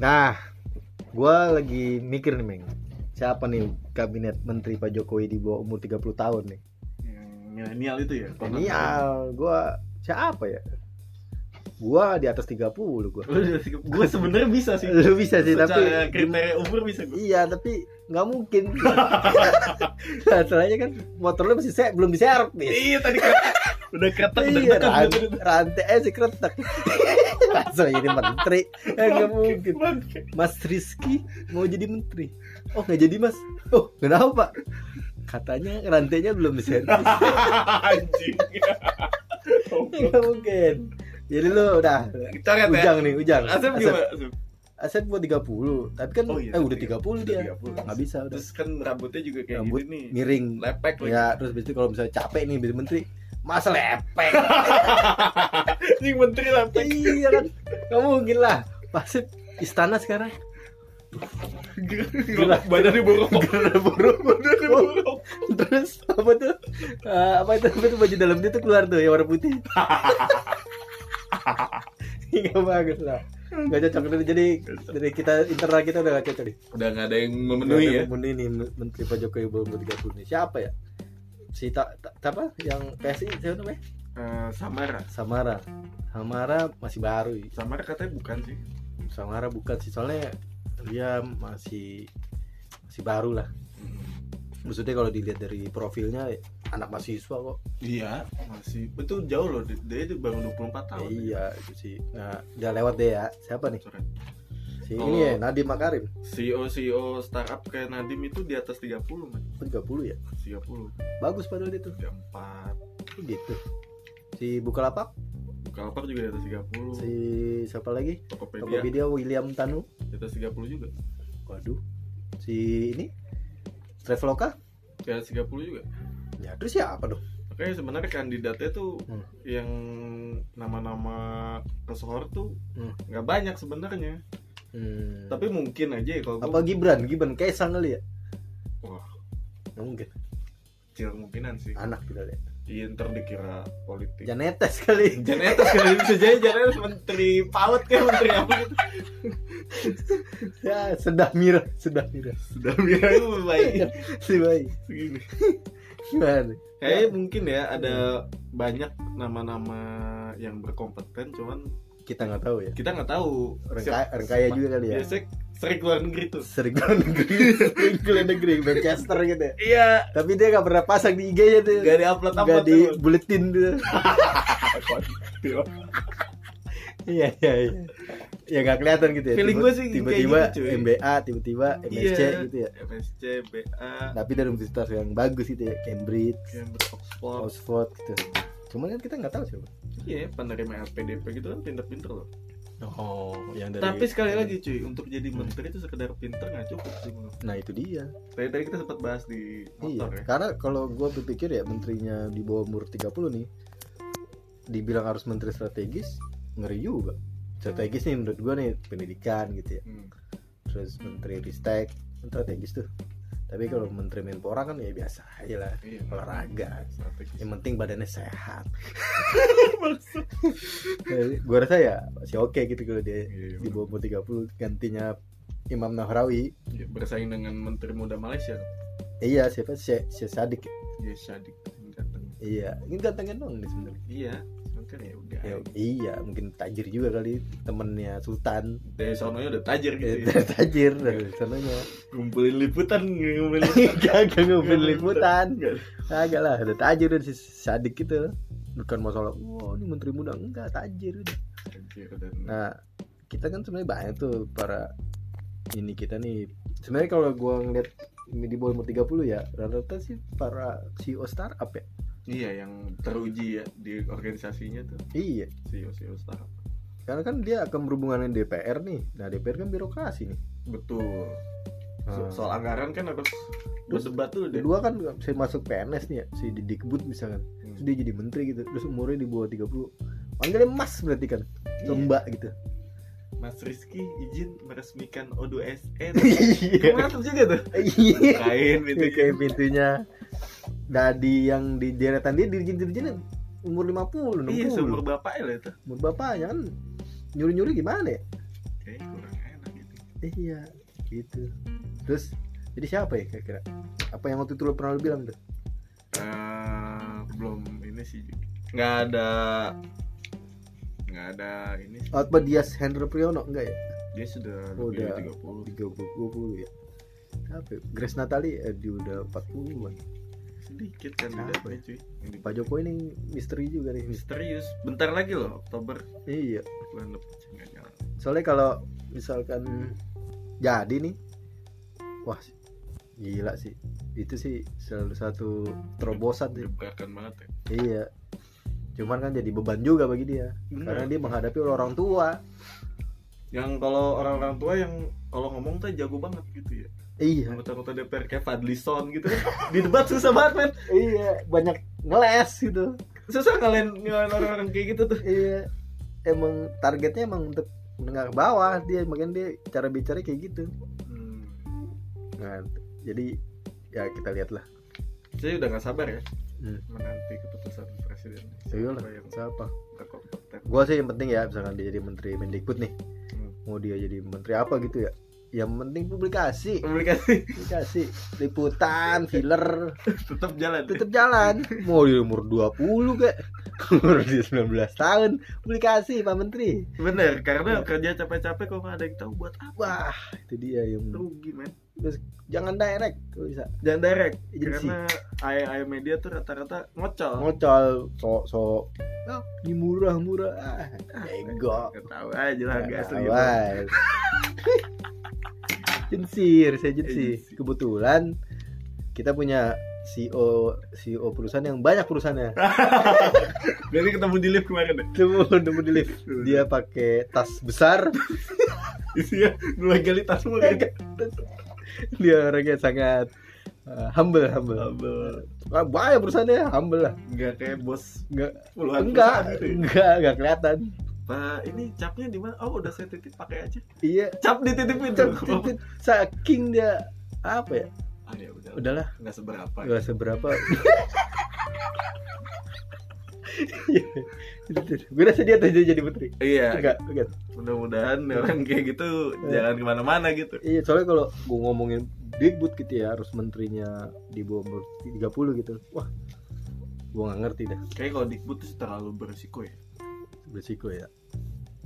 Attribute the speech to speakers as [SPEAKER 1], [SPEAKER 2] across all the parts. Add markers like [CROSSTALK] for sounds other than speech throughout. [SPEAKER 1] Nah, gue lagi mikir nih, Meng. Siapa nih kabinet menteri Pak Jokowi di bawah umur 30 tahun nih?
[SPEAKER 2] Yang milenial itu ya? Kalau nggak salah.
[SPEAKER 1] Genial. Gue siapa ya? Gue di atas 30 gue.
[SPEAKER 2] Lu udah sikap- Gua sebenarnya bisa sih.
[SPEAKER 1] Lu bisa sih, tapi
[SPEAKER 2] Secara kriteria umur bisa gue.
[SPEAKER 1] Iya, tapi nggak mungkin. [LAUGHS] Masalahnya kan motor lu masih se- belum diservis.
[SPEAKER 2] Iya tadi kata udah kata udah
[SPEAKER 1] iya,
[SPEAKER 2] kata,
[SPEAKER 1] ran-
[SPEAKER 2] udah
[SPEAKER 1] rantai eh si kretek [LAUGHS] langsung jadi menteri eh nggak mungkin
[SPEAKER 2] kata.
[SPEAKER 1] Mas Rizky mau jadi menteri oh nggak jadi Mas oh kenapa katanya rantainya belum
[SPEAKER 2] [LAUGHS]
[SPEAKER 1] diservis
[SPEAKER 2] [LAUGHS]
[SPEAKER 1] [LAUGHS]
[SPEAKER 2] Anjing.
[SPEAKER 1] nggak mungkin jadi lu udah
[SPEAKER 2] Kita lihat ya.
[SPEAKER 1] ujang nih ujang
[SPEAKER 2] Asep
[SPEAKER 1] Asep,
[SPEAKER 2] gimana? Asep?
[SPEAKER 1] Asep buat 30 tapi kan
[SPEAKER 2] Oh iya,
[SPEAKER 1] eh udah 30
[SPEAKER 2] 30.
[SPEAKER 1] dia
[SPEAKER 2] Udah 30.
[SPEAKER 1] nggak bisa udah
[SPEAKER 2] Terus kan rambutnya juga kayak
[SPEAKER 1] Rambut
[SPEAKER 2] gini nih.
[SPEAKER 1] miring
[SPEAKER 2] Lepek lagi.
[SPEAKER 1] ya terus habis itu kalau misalnya capek nih jadi menteri masa
[SPEAKER 2] [LAUGHS]
[SPEAKER 1] lepek
[SPEAKER 2] Ini menteri lepek.
[SPEAKER 1] iya kan nggak mungkin lah pasti istana sekarang Gerak.
[SPEAKER 2] [LAUGHS] Badannya
[SPEAKER 1] [LAUGHS]
[SPEAKER 2] borok. Badannya
[SPEAKER 1] Oh.
[SPEAKER 2] borok.
[SPEAKER 1] terus apa tuh Eh, apa itu apa itu baju dalam dia tuh keluar tuh yang warna putih [LAUGHS] nggak bagus lah nggak cocok Jadi- jadi dari kita internal kita udah nggak cocok nih
[SPEAKER 2] Udah nggak ada yang
[SPEAKER 1] Nggak
[SPEAKER 2] memenuhi
[SPEAKER 1] ada
[SPEAKER 2] ya.
[SPEAKER 1] memenuhi nih menteri pak jokowi belum tiga puluh nih siapa ya si tak Ta- apa yang PSI siapa namanya
[SPEAKER 2] Eh, Samara.
[SPEAKER 1] Samara Samara masih baru ya.
[SPEAKER 2] Samara katanya bukan sih.
[SPEAKER 1] Samara bukan sih soalnya dia masih masih baru lah maksudnya kalau dilihat dari profilnya anak mahasiswa kok
[SPEAKER 2] Iya, masih. Itu jauh loh. Dia- Dia itu baru 24 tahun. ya.
[SPEAKER 1] iya itu sih nah udah lewat deh ya siapa nih
[SPEAKER 2] Sorry.
[SPEAKER 1] si
[SPEAKER 2] Oh.
[SPEAKER 1] ini ya Nadiem Makarim
[SPEAKER 2] CEO CEO E startup kayak Nadim itu di atas 30 man.
[SPEAKER 1] 30 ya
[SPEAKER 2] 30,
[SPEAKER 1] bagus padahal dia tuh
[SPEAKER 2] 34.
[SPEAKER 1] gitu si Bukalapak
[SPEAKER 2] Bukalapak juga di atas 30.
[SPEAKER 1] si siapa lagi
[SPEAKER 2] Tokopedia,
[SPEAKER 1] Tokopedia William Tanu
[SPEAKER 2] di atas 30 juga.
[SPEAKER 1] waduh si ini Traveloka
[SPEAKER 2] Di atas 30 juga.
[SPEAKER 1] ya terus siapa dong
[SPEAKER 2] Makanya sebenarnya kandidatnya tuh
[SPEAKER 1] Hmm.
[SPEAKER 2] yang nama-nama kesohor tuh
[SPEAKER 1] Hmm.
[SPEAKER 2] nggak banyak sebenarnya.
[SPEAKER 1] hmm.
[SPEAKER 2] Tapi mungkin aja ya kalau
[SPEAKER 1] apa
[SPEAKER 2] gua
[SPEAKER 1] Gibran Gibran Kaisang kali ya
[SPEAKER 2] Wah.
[SPEAKER 1] Nggak mungkin
[SPEAKER 2] kecil kemungkinan sih.
[SPEAKER 1] anak tidak ya
[SPEAKER 2] Iya ntar dikira politik.
[SPEAKER 1] Janetes kali
[SPEAKER 2] Janetes kali bisa jadi Janetes menteri PAUD kayak menteri
[SPEAKER 1] [LAUGHS]
[SPEAKER 2] apa gitu.
[SPEAKER 1] ya sedah mira sedah mira
[SPEAKER 2] Sudah biar itu lebih baik.
[SPEAKER 1] [LAUGHS] si bayi
[SPEAKER 2] Segini.
[SPEAKER 1] gimana
[SPEAKER 2] Kayaknya mungkin ya ada
[SPEAKER 1] Hmm.
[SPEAKER 2] banyak nama-nama yang berkompeten cuman
[SPEAKER 1] kita nggak tahu ya
[SPEAKER 2] kita nggak tahu
[SPEAKER 1] orang
[SPEAKER 2] siapa-
[SPEAKER 1] kaya, orang kaya juga kali ya
[SPEAKER 2] biasanya sering keluar negeri tuh
[SPEAKER 1] sering ke luar negeri sering ke luar negeri Manchester gitu ya
[SPEAKER 2] iya
[SPEAKER 1] tapi dia nggak pernah pasang di IG-nya tuh
[SPEAKER 2] gak di upload
[SPEAKER 1] nggak gitu.
[SPEAKER 2] upload
[SPEAKER 1] di buletin
[SPEAKER 2] [LAUGHS]
[SPEAKER 1] tuh iya iya iya ya nggak kelihatan gitu ya
[SPEAKER 2] Feeling
[SPEAKER 1] Tiba-
[SPEAKER 2] gua sih kayak
[SPEAKER 1] tiba-tiba
[SPEAKER 2] gitu, cuy. Iya.
[SPEAKER 1] MBA tiba-tiba MSC gitu ya
[SPEAKER 2] MSC BA
[SPEAKER 1] tapi dari universitas yang bagus gitu ya Cambridge
[SPEAKER 2] Cambridge Oxford
[SPEAKER 1] Oxford gitu cuman kan kita nggak tahu siapa
[SPEAKER 2] iya penerima LPDP gitu kan pinter-pinter loh
[SPEAKER 1] oh yang dari
[SPEAKER 2] tapi sekali lagi cuy untuk jadi menteri itu sekedar pinter nggak cukup sih menurut
[SPEAKER 1] nah itu dia
[SPEAKER 2] tadi tadi kita sempat bahas di
[SPEAKER 1] Iya,
[SPEAKER 2] motor ya
[SPEAKER 1] karena kalau gue berpikir ya menterinya di bawah umur 30 nih dibilang harus menteri strategis ngeri juga. Strategis nih menurut gue nih pendidikan gitu ya.
[SPEAKER 2] Hmm.
[SPEAKER 1] Terus menteri Ristek kan strategis tuh. Tapi kalau menteri Menpora kan ya biasa aja lah.
[SPEAKER 2] Iya,
[SPEAKER 1] Olahraga.
[SPEAKER 2] strategis.
[SPEAKER 1] Yang penting badannya
[SPEAKER 2] [LAUGHS]
[SPEAKER 1] sehat. gue rasa ya masih oke gitu kalau dia
[SPEAKER 2] Iya,
[SPEAKER 1] di bawah umur 30 gantinya Imam Nahrawi.
[SPEAKER 2] Iya, bersaing dengan menteri muda Malaysia
[SPEAKER 1] Eh, iya siapa Syekh Syekh Sadik. ya?
[SPEAKER 2] ya Syadik ganteng
[SPEAKER 1] Iya, ini gantengin dong nih sebenarnya.
[SPEAKER 2] iya makanya ya udah
[SPEAKER 1] Ya, iya, mungkin tajir juga kali temennya Sultan.
[SPEAKER 2] dari sononya udah tajir gitu ya.
[SPEAKER 1] Eh, tajir dari sananya.
[SPEAKER 2] ngumpulin liputan ngumpulin
[SPEAKER 1] [LAUGHS] Kagak ngumpulin
[SPEAKER 2] Ngumpulin
[SPEAKER 1] liputan.
[SPEAKER 2] liputan.
[SPEAKER 1] Kagak lah, ada tajir dari si Sadik gitu. Bukan masalah, wow ini menteri muda enggak tajir. udah.
[SPEAKER 2] Anjir, dan
[SPEAKER 1] Nah, kita kan sebenarnya banyak tuh para ini kita nih. Sebenarnya kalau gua ngeliat di bawah umur 30 ya, rata-rata sih para CEO startup ya.
[SPEAKER 2] iya yang teruji ya di organisasinya tuh E
[SPEAKER 1] Iya,
[SPEAKER 2] CEO CEO startup
[SPEAKER 1] karena kan dia akan berhubungan dengan DPR nih. Nah, DPR kan birokrasi nih.
[SPEAKER 2] betul So-
[SPEAKER 1] Hmm.
[SPEAKER 2] soal anggaran kan harus
[SPEAKER 1] Terus
[SPEAKER 2] berdebat tuh deh
[SPEAKER 1] Kedua kan bisa masuk PNS nih ya, si Didikbud misalkan.
[SPEAKER 2] Hmm.
[SPEAKER 1] Terus dia jadi menteri gitu terus umurnya di bawah 30 panggilnya mas berarti kan
[SPEAKER 2] Iya.
[SPEAKER 1] atau mbak gitu
[SPEAKER 2] Mas Rizky izin meresmikan
[SPEAKER 1] [LAUGHS]
[SPEAKER 2] O2SN
[SPEAKER 1] iya
[SPEAKER 2] Eh, mantap juga tuh kain gitu
[SPEAKER 1] kayak pintunya dadi yang di deretan dia dirjen dirjen umur 50
[SPEAKER 2] iya
[SPEAKER 1] 60
[SPEAKER 2] sumber bapaknya lah itu
[SPEAKER 1] umur bapaknya kan nyuri nyuri gimana ya
[SPEAKER 2] kayaknya kurang enak gitu
[SPEAKER 1] iya gitu terus jadi siapa ya kira-kira apa yang waktu itu lo pernah lo bilang tuh
[SPEAKER 2] Eh, belum ini sih nggak ada nggak ada ini sih.
[SPEAKER 1] Oh, apa Dias Hendro Priyono enggak ya
[SPEAKER 2] dia sudah
[SPEAKER 1] Oh,
[SPEAKER 2] lebih
[SPEAKER 1] udah.
[SPEAKER 2] dari
[SPEAKER 1] 30
[SPEAKER 2] 30
[SPEAKER 1] ya apa ya? Grace Natali eh, dia udah 40-an
[SPEAKER 2] sedikit kan
[SPEAKER 1] Kenapa
[SPEAKER 2] bedanya, cuy Yang di-
[SPEAKER 1] Pak Jokowi ini misteri juga nih
[SPEAKER 2] misterius bentar lagi loh Oktober
[SPEAKER 1] iya
[SPEAKER 2] bulan depan sih nggak nyala.
[SPEAKER 1] soalnya kalau misalkan jadi nih wah gila sih itu sih salah satu terobosan sih.
[SPEAKER 2] Jebakan banget ya
[SPEAKER 1] iya cuman kan jadi beban juga bagi dia karena dia menghadapi orang tua
[SPEAKER 2] yang kalau orang-orang tua yang kalau ngomong tuh jago banget gitu ya
[SPEAKER 1] iya
[SPEAKER 2] anggota-anggota DPR kayak Fadlison gitu [LAUGHS] kan di debat susah banget men
[SPEAKER 1] iya banyak ngeles gitu
[SPEAKER 2] susah ngalain ngalain orang-orang kayak gitu tuh
[SPEAKER 1] iya emang targetnya emang untuk menengah ke bawah dia makin dia cara bicara kayak gitu
[SPEAKER 2] hmm.
[SPEAKER 1] nah, jadi ya kita lihatlah
[SPEAKER 2] saya udah nggak sabar ya
[SPEAKER 1] Hmm.
[SPEAKER 2] menanti keputusan presiden
[SPEAKER 1] Ayolah.
[SPEAKER 2] siapa yang
[SPEAKER 1] siapa
[SPEAKER 2] berkompeten
[SPEAKER 1] gua sih yang penting ya misalkan dia jadi menteri Mendikbud nih
[SPEAKER 2] Hmm.
[SPEAKER 1] mau dia jadi menteri apa gitu ya yang penting publikasi
[SPEAKER 2] publikasi
[SPEAKER 1] publikasi liputan filler
[SPEAKER 2] [LAUGHS] tetap jalan
[SPEAKER 1] tetap jalan mau di umur 20 kek [LAUGHS] umur di 19 tahun publikasi Pak Menteri
[SPEAKER 2] bener karena kerja capek-capek kalau nggak ada yang tahu buat apa
[SPEAKER 1] wah itu dia yang
[SPEAKER 2] rugi men
[SPEAKER 1] jangan direct kalau bisa
[SPEAKER 2] jangan direct
[SPEAKER 1] Agency.
[SPEAKER 2] karena AI, media tuh rata-rata ngocol
[SPEAKER 1] ngocol sok sok ah, ini murah murah ah, ego
[SPEAKER 2] nggak tahu aja lah harga asli gitu. [LAUGHS]
[SPEAKER 1] Awas. jensir saya jensir
[SPEAKER 2] Jensir.
[SPEAKER 1] kebetulan kita punya E CEO CEO perusahaan yang banyak perusahaannya
[SPEAKER 2] Berarti ketemu di lift kemarin ya?
[SPEAKER 1] temu nemu di lift
[SPEAKER 2] Iya.
[SPEAKER 1] dia pakai tas besar
[SPEAKER 2] [LAUGHS] isinya dua kali tas mulu kan?
[SPEAKER 1] dia orangnya sangat uh, humble humble Ah, banyak perusahaannya humble lah
[SPEAKER 2] Enggak kayak bos
[SPEAKER 1] Nggak-
[SPEAKER 2] puluhan perusahaan
[SPEAKER 1] enggak
[SPEAKER 2] gitu ya.
[SPEAKER 1] enggak enggak kelihatan
[SPEAKER 2] Pak, ini capnya di mana? Oh, udah saya titip pakai aja.
[SPEAKER 1] iya
[SPEAKER 2] Cap dititipin
[SPEAKER 1] Cep,
[SPEAKER 2] dulu.
[SPEAKER 1] cep, cep. saking dia apa ya
[SPEAKER 2] Ah, ya udah. Udah
[SPEAKER 1] udahlah
[SPEAKER 2] enggak seberapa. ya.
[SPEAKER 1] nggak seberapa gue rasa dia tuh jadi putri
[SPEAKER 2] Iya,
[SPEAKER 1] enggak enggak
[SPEAKER 2] mudah-mudahan orang kayak gitu jangan kemana mana gitu.
[SPEAKER 1] iya soalnya kalau gue ngomongin Big Boot gitu ya harus menterinya di bawah umur 30 gitu wah gue nggak ngerti dah
[SPEAKER 2] Kayak kalau Dikbud itu terlalu berisiko ya.
[SPEAKER 1] berisiko ya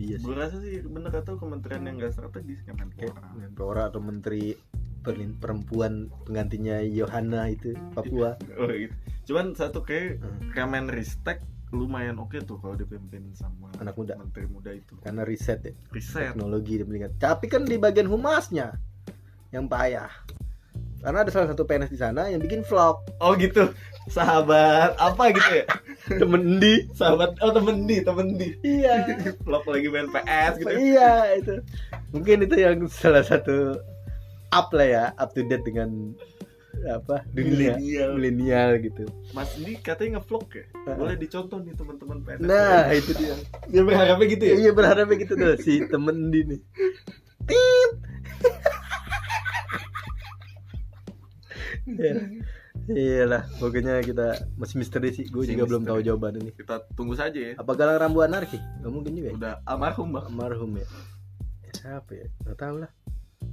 [SPEAKER 1] iya sih
[SPEAKER 2] Gue rasa sih bener kata lu, kementerian yang enggak strategis kan
[SPEAKER 1] kayak
[SPEAKER 2] orang.
[SPEAKER 1] Menpora atau menteri Perlin- perempuan penggantinya Yohana itu Papua
[SPEAKER 2] Oh, gitu. Cuman satu kayak
[SPEAKER 1] Hmm.
[SPEAKER 2] Kemenristek lumayan oke tuh kalau dipimpin sama
[SPEAKER 1] Anak muda.
[SPEAKER 2] menteri muda itu.
[SPEAKER 1] karena riset ya
[SPEAKER 2] Riset.
[SPEAKER 1] teknologi dan pendidikan. Tapi kan di bagian humasnya yang payah. Karena ada salah satu PNS di sana yang bikin vlog.
[SPEAKER 2] Oh gitu, sahabat apa gitu ya?
[SPEAKER 1] Temen di.
[SPEAKER 2] Sahabat, oh temen di, temen di
[SPEAKER 1] Iya.
[SPEAKER 2] Vlog lagi main PS gitu
[SPEAKER 1] Iya itu. Mungkin itu yang salah satu up lah ya, up to date dengan apa dunia
[SPEAKER 2] Milenial
[SPEAKER 1] milenial gitu.
[SPEAKER 2] Mas Di katanya ngevlog ya? Boleh dicontoh nih teman-teman PNS
[SPEAKER 1] Nah itu dia.
[SPEAKER 2] Dia berharapnya gitu ya?
[SPEAKER 1] Iya berharapnya gitu tuh si temen di nih. Tit.
[SPEAKER 2] Iya.
[SPEAKER 1] Ya. Iyalah, pokoknya kita masih misteri sih. Gue
[SPEAKER 2] Masih
[SPEAKER 1] juga belum tahu
[SPEAKER 2] misteri.
[SPEAKER 1] jawaban ini.
[SPEAKER 2] Kita tunggu saja ya
[SPEAKER 1] Apa galang rambu anarki? Gak mungkin juga. ya.
[SPEAKER 2] Udah almarhum bang
[SPEAKER 1] Almarhum ya. Siapa ya? Gak tau lah.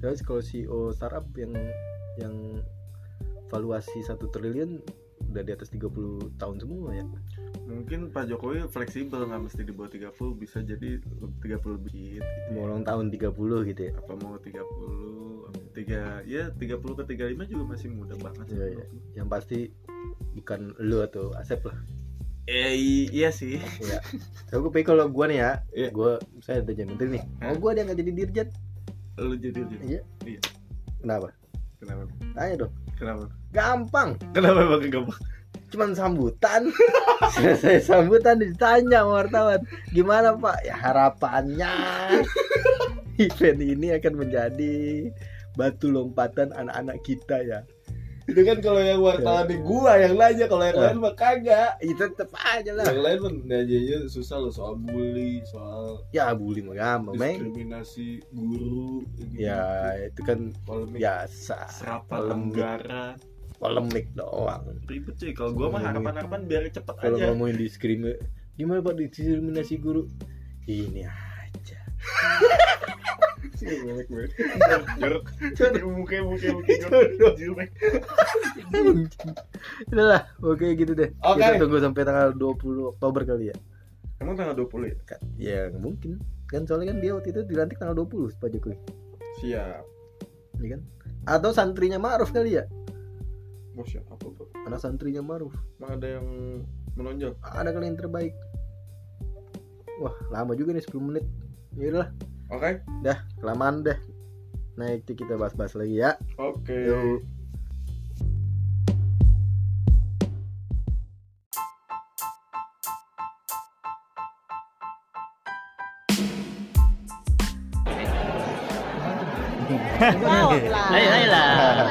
[SPEAKER 1] Terus kalau CEO startup yang yang valuasi satu triliun udah di atas 30 tahun semua ya.
[SPEAKER 2] Mungkin Pak Jokowi fleksibel nggak mesti di bawah 30 Bisa jadi 30 lebih gitu
[SPEAKER 1] Mau ulang tahun 30 gitu ya.
[SPEAKER 2] Apa mau 30 tiga ya 30 ke 35 juga masih muda banget sih
[SPEAKER 1] Iya, iya. Yang pasti bukan lu atau Asep lah.
[SPEAKER 2] Eh, i- iya sih
[SPEAKER 1] Iya. Tapi gue pikir kalau gue nih ya,
[SPEAKER 2] Iya.
[SPEAKER 1] gue saya udah jadi menteri nih.
[SPEAKER 2] Hah?
[SPEAKER 1] Mau gue dia nggak jadi dirjen?
[SPEAKER 2] Lu jadi, jadi.
[SPEAKER 1] Iya.
[SPEAKER 2] Iya.
[SPEAKER 1] Kenapa?
[SPEAKER 2] Kenapa?
[SPEAKER 1] Tanya dong.
[SPEAKER 2] Kenapa?
[SPEAKER 1] Gampang.
[SPEAKER 2] Kenapa bang? Kenapa?
[SPEAKER 1] cuman
[SPEAKER 2] [LAUGHS]
[SPEAKER 1] sambutan selesai sambutan ditanya sama wartawan gimana pak ya
[SPEAKER 2] [LAUGHS]
[SPEAKER 1] harapannya event ini akan menjadi batu lompatan anak-anak kita ya
[SPEAKER 2] itu kan kalau yang wartawan di gua yang nanya kalau yang
[SPEAKER 1] Eh.
[SPEAKER 2] lain mah kagak
[SPEAKER 1] itu Ya, tetep aja lah
[SPEAKER 2] yang lain mah nanyanya susah loh soal bully soal
[SPEAKER 1] ya bully mah gampang Meng.
[SPEAKER 2] diskriminasi guru gitu.
[SPEAKER 1] ya itu kan
[SPEAKER 2] polemik
[SPEAKER 1] biasa
[SPEAKER 2] serapan
[SPEAKER 1] Polemik.
[SPEAKER 2] anggaran
[SPEAKER 1] polemik doang
[SPEAKER 2] ribet cuy kalau gua mah
[SPEAKER 1] Polemik.
[SPEAKER 2] harapan harapan biar cepet
[SPEAKER 1] kalau
[SPEAKER 2] [LAUGHS] aja
[SPEAKER 1] ngomongin diskriminasi gimana pak diskriminasi guru ini aja
[SPEAKER 2] Jelek banget. Jorok. Jorok. Mukanya mukanya mukanya
[SPEAKER 1] Jorok.
[SPEAKER 2] jorok. Jelek.
[SPEAKER 1] [LAUGHS] Udah lah, oke gitu deh.
[SPEAKER 2] Oke.
[SPEAKER 1] Kita tunggu sampai tanggal 20 Oktober kali ya.
[SPEAKER 2] Emang tanggal 20 ya?
[SPEAKER 1] Ka- Ya nggak mungkin. Kan soalnya kan dia waktu itu dilantik tanggal 20 Pak Jokowi,
[SPEAKER 2] Siap.
[SPEAKER 1] ya kan? Atau santrinya Ma'ruf kali ya?
[SPEAKER 2] Bos ya, apa tuh?
[SPEAKER 1] Anak santrinya Ma'ruf.
[SPEAKER 2] Emang ada yang menonjol?
[SPEAKER 1] Ada kali yang terbaik. Wah, lama juga nih 10 menit. Yaudah, lah,
[SPEAKER 2] Oke.
[SPEAKER 1] kelamaan deh. Nanti kita bahas-bahas lagi ya.
[SPEAKER 2] Oke.
[SPEAKER 1] Yuk.
[SPEAKER 3] Jawab lah.
[SPEAKER 4] Ayo, ayo [LAUGHS] lah.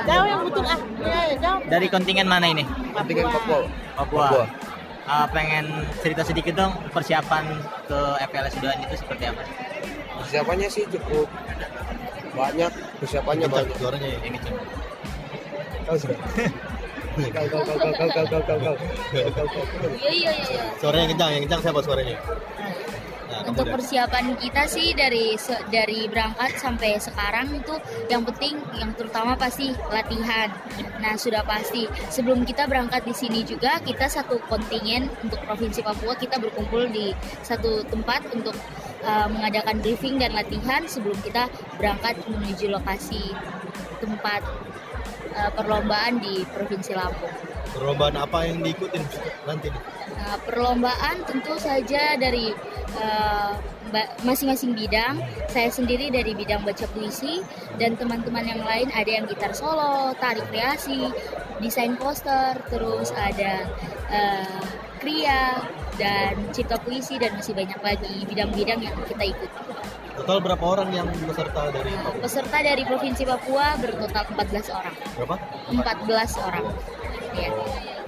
[SPEAKER 3] Jawab yang betul ah. Iya, iya, jawab.
[SPEAKER 4] Dari kontingen mana ini?
[SPEAKER 3] Kontingen Papua.
[SPEAKER 4] Papua. Ah, pengen cerita sedikit dong persiapan ke FPL Sudan itu seperti apa?
[SPEAKER 5] persiapannya sih cukup banyak persiapannya banyak
[SPEAKER 4] Suaranya ini cuma.
[SPEAKER 5] kau sudah kau kau kau kau kau kau kau kau kau kau kau
[SPEAKER 6] Iya iya iya. iya.
[SPEAKER 4] Suaranya kencang, yang kencang siapa suaranya? Nah,
[SPEAKER 6] Untuk persiapan kita sih dari se- dari berangkat sampai sekarang itu yang penting yang terutama pasti latihan. Nah sudah pasti sebelum kita berangkat di sini juga kita satu kontingen untuk provinsi Papua kita berkumpul di satu tempat untuk uh, mengadakan briefing dan latihan sebelum kita berangkat menuju lokasi tempat uh, perlombaan di provinsi Lampung.
[SPEAKER 4] Perlombaan apa yang diikutin nanti?
[SPEAKER 6] Nah, perlombaan tentu saja dari eh, ba- masing-masing bidang. Saya sendiri dari bidang baca puisi dan teman-teman yang lain ada yang gitar solo, tari kreasi, desain poster, terus ada eh, kria dan cipta puisi dan masih banyak lagi bidang-bidang yang kita ikuti.
[SPEAKER 4] Total berapa orang yang peserta dari
[SPEAKER 6] Nah,
[SPEAKER 4] Papua?
[SPEAKER 6] peserta dari provinsi Papua bertotal 14 orang.
[SPEAKER 4] Berapa?
[SPEAKER 6] 14 orang. Ya.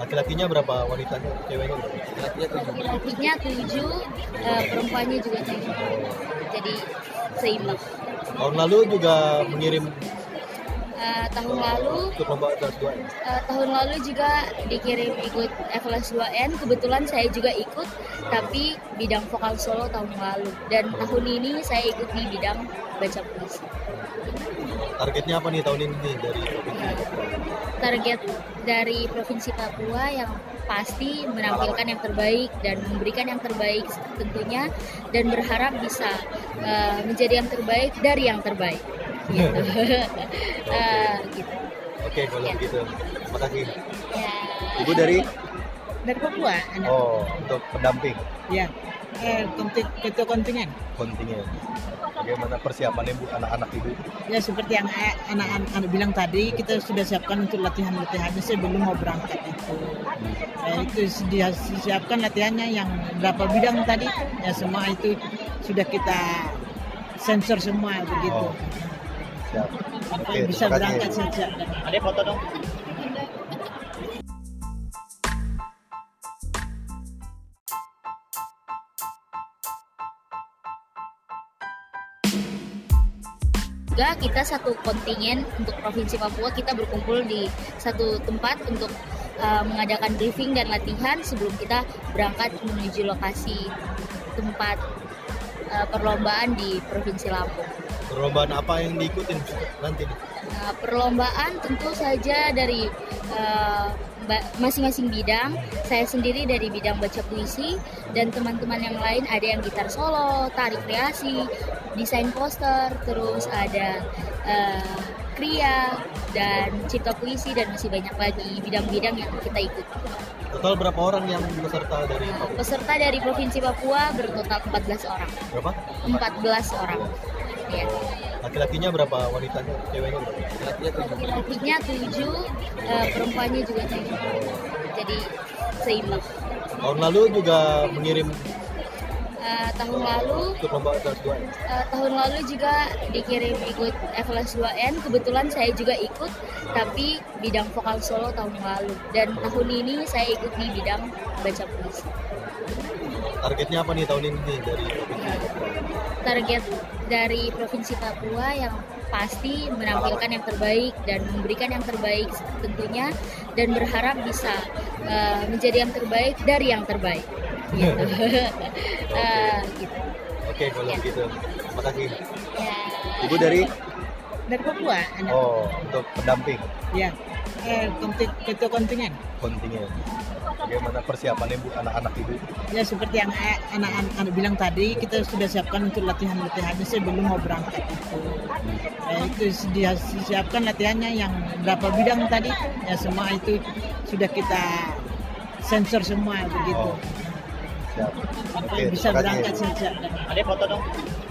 [SPEAKER 4] Laki-lakinya berapa? Wanitanya, ceweknya berapa?
[SPEAKER 6] Laki-lakinya tujuh, eh, perempuannya juga tujuh. Jadi seimbang.
[SPEAKER 4] Tahun lalu juga mengirim
[SPEAKER 6] Eh, tahun lalu,
[SPEAKER 4] ikut lomba kelas dua ya?
[SPEAKER 6] eh, tahun lalu juga dikirim ikut FLS 2N. Kebetulan saya juga ikut, tapi bidang vokal solo tahun lalu. Dan tahun ini saya ikut di bidang baca puisi.
[SPEAKER 4] Targetnya apa nih tahun ini dari
[SPEAKER 6] Target dari Provinsi Papua yang pasti menampilkan yang terbaik dan memberikan yang terbaik tentunya dan berharap bisa eh, menjadi yang terbaik dari yang terbaik. Gitu. [LAUGHS] Eh, gitu.
[SPEAKER 4] Oke, kalau
[SPEAKER 6] Ya.
[SPEAKER 4] begitu. Makasih.
[SPEAKER 6] Ya.
[SPEAKER 1] Ibu dari
[SPEAKER 3] Dari Papua anak.
[SPEAKER 4] Oh, untuk pendamping
[SPEAKER 3] Ya. Eh, konting- ketua kontingen.
[SPEAKER 4] kontingen. Bagaimana persiapannya Bu anak-anak Ibu?
[SPEAKER 3] Ya seperti yang eh, anak-anak anak bilang tadi, kita sudah siapkan untuk latihan-latihannya sebelum mau berangkat itu.
[SPEAKER 4] Hmm.
[SPEAKER 3] Eh, itu dia siapkan latihannya yang berapa bidang tadi, ya semua itu sudah kita sensor semua begitu.
[SPEAKER 4] Oh. Siap.
[SPEAKER 3] Sampai bisa
[SPEAKER 4] terima kasih.
[SPEAKER 3] berangkat saja.
[SPEAKER 4] Ada foto dong.
[SPEAKER 6] juga kita satu kontingen untuk provinsi Papua kita berkumpul di satu tempat untuk eh, mengadakan briefing dan latihan sebelum kita berangkat menuju lokasi tempat eh, perlombaan di provinsi Lampung.
[SPEAKER 4] Perlombaan apa yang diikutin nanti?
[SPEAKER 6] Nah, perlombaan tentu saja dari eh, ba- masing-masing bidang. Saya sendiri dari bidang baca puisi dan teman-teman yang lain ada yang gitar solo, tari kreasi, desain poster, terus ada eh, kria dan cipta puisi dan masih banyak lagi bidang-bidang yang kita ikuti.
[SPEAKER 4] Total berapa orang yang peserta dari
[SPEAKER 6] Nah,
[SPEAKER 4] Papua?
[SPEAKER 6] Peserta dari provinsi Papua bertotal 14 orang.
[SPEAKER 4] Berapa?
[SPEAKER 6] 14 orang. Ya.
[SPEAKER 4] Laki-lakinya berapa? Wanitanya, ceweknya berapa?
[SPEAKER 6] Laki-lakinya tujuh, eh, perempuannya juga tujuh. Jadi seimbang.
[SPEAKER 4] Tahun lalu juga mengirim
[SPEAKER 6] Eh, tahun lalu,
[SPEAKER 4] ikut lomba kelas dua ya?
[SPEAKER 6] eh, tahun lalu juga dikirim ikut FLS 2N. Kebetulan saya juga ikut, tapi bidang vokal solo tahun lalu. Dan tahun ini saya ikut di bidang baca puisi.
[SPEAKER 4] Targetnya apa nih tahun ini dari
[SPEAKER 6] Target dari provinsi Papua yang pasti menampilkan yang terbaik dan memberikan yang terbaik tentunya dan berharap bisa eh, menjadi yang terbaik dari yang terbaik. Gitu. Eh, gitu.
[SPEAKER 5] Oke, kalau begitu. Terima kasih.
[SPEAKER 6] Ya.
[SPEAKER 5] Ibu dari
[SPEAKER 3] dari Papua anak
[SPEAKER 5] Oh, untuk pendamping
[SPEAKER 3] ya eh konti- ketua kontingen
[SPEAKER 5] kontingen. Bagaimana persiapan ibu anak-anak ibu?
[SPEAKER 3] ya seperti yang eh, anak-anak anak bilang tadi kita sudah siapkan untuk latihan latihannya sebelum mau berangkat itu
[SPEAKER 5] Hmm.
[SPEAKER 3] ya, itu dia siapkan latihannya yang berapa bidang tadi ya semua itu sudah kita sensor semua begitu
[SPEAKER 5] Oh, siap.
[SPEAKER 3] Apa
[SPEAKER 5] Oke, terima kasih.
[SPEAKER 3] bisa berangkat siap-siap
[SPEAKER 4] Ada foto dong.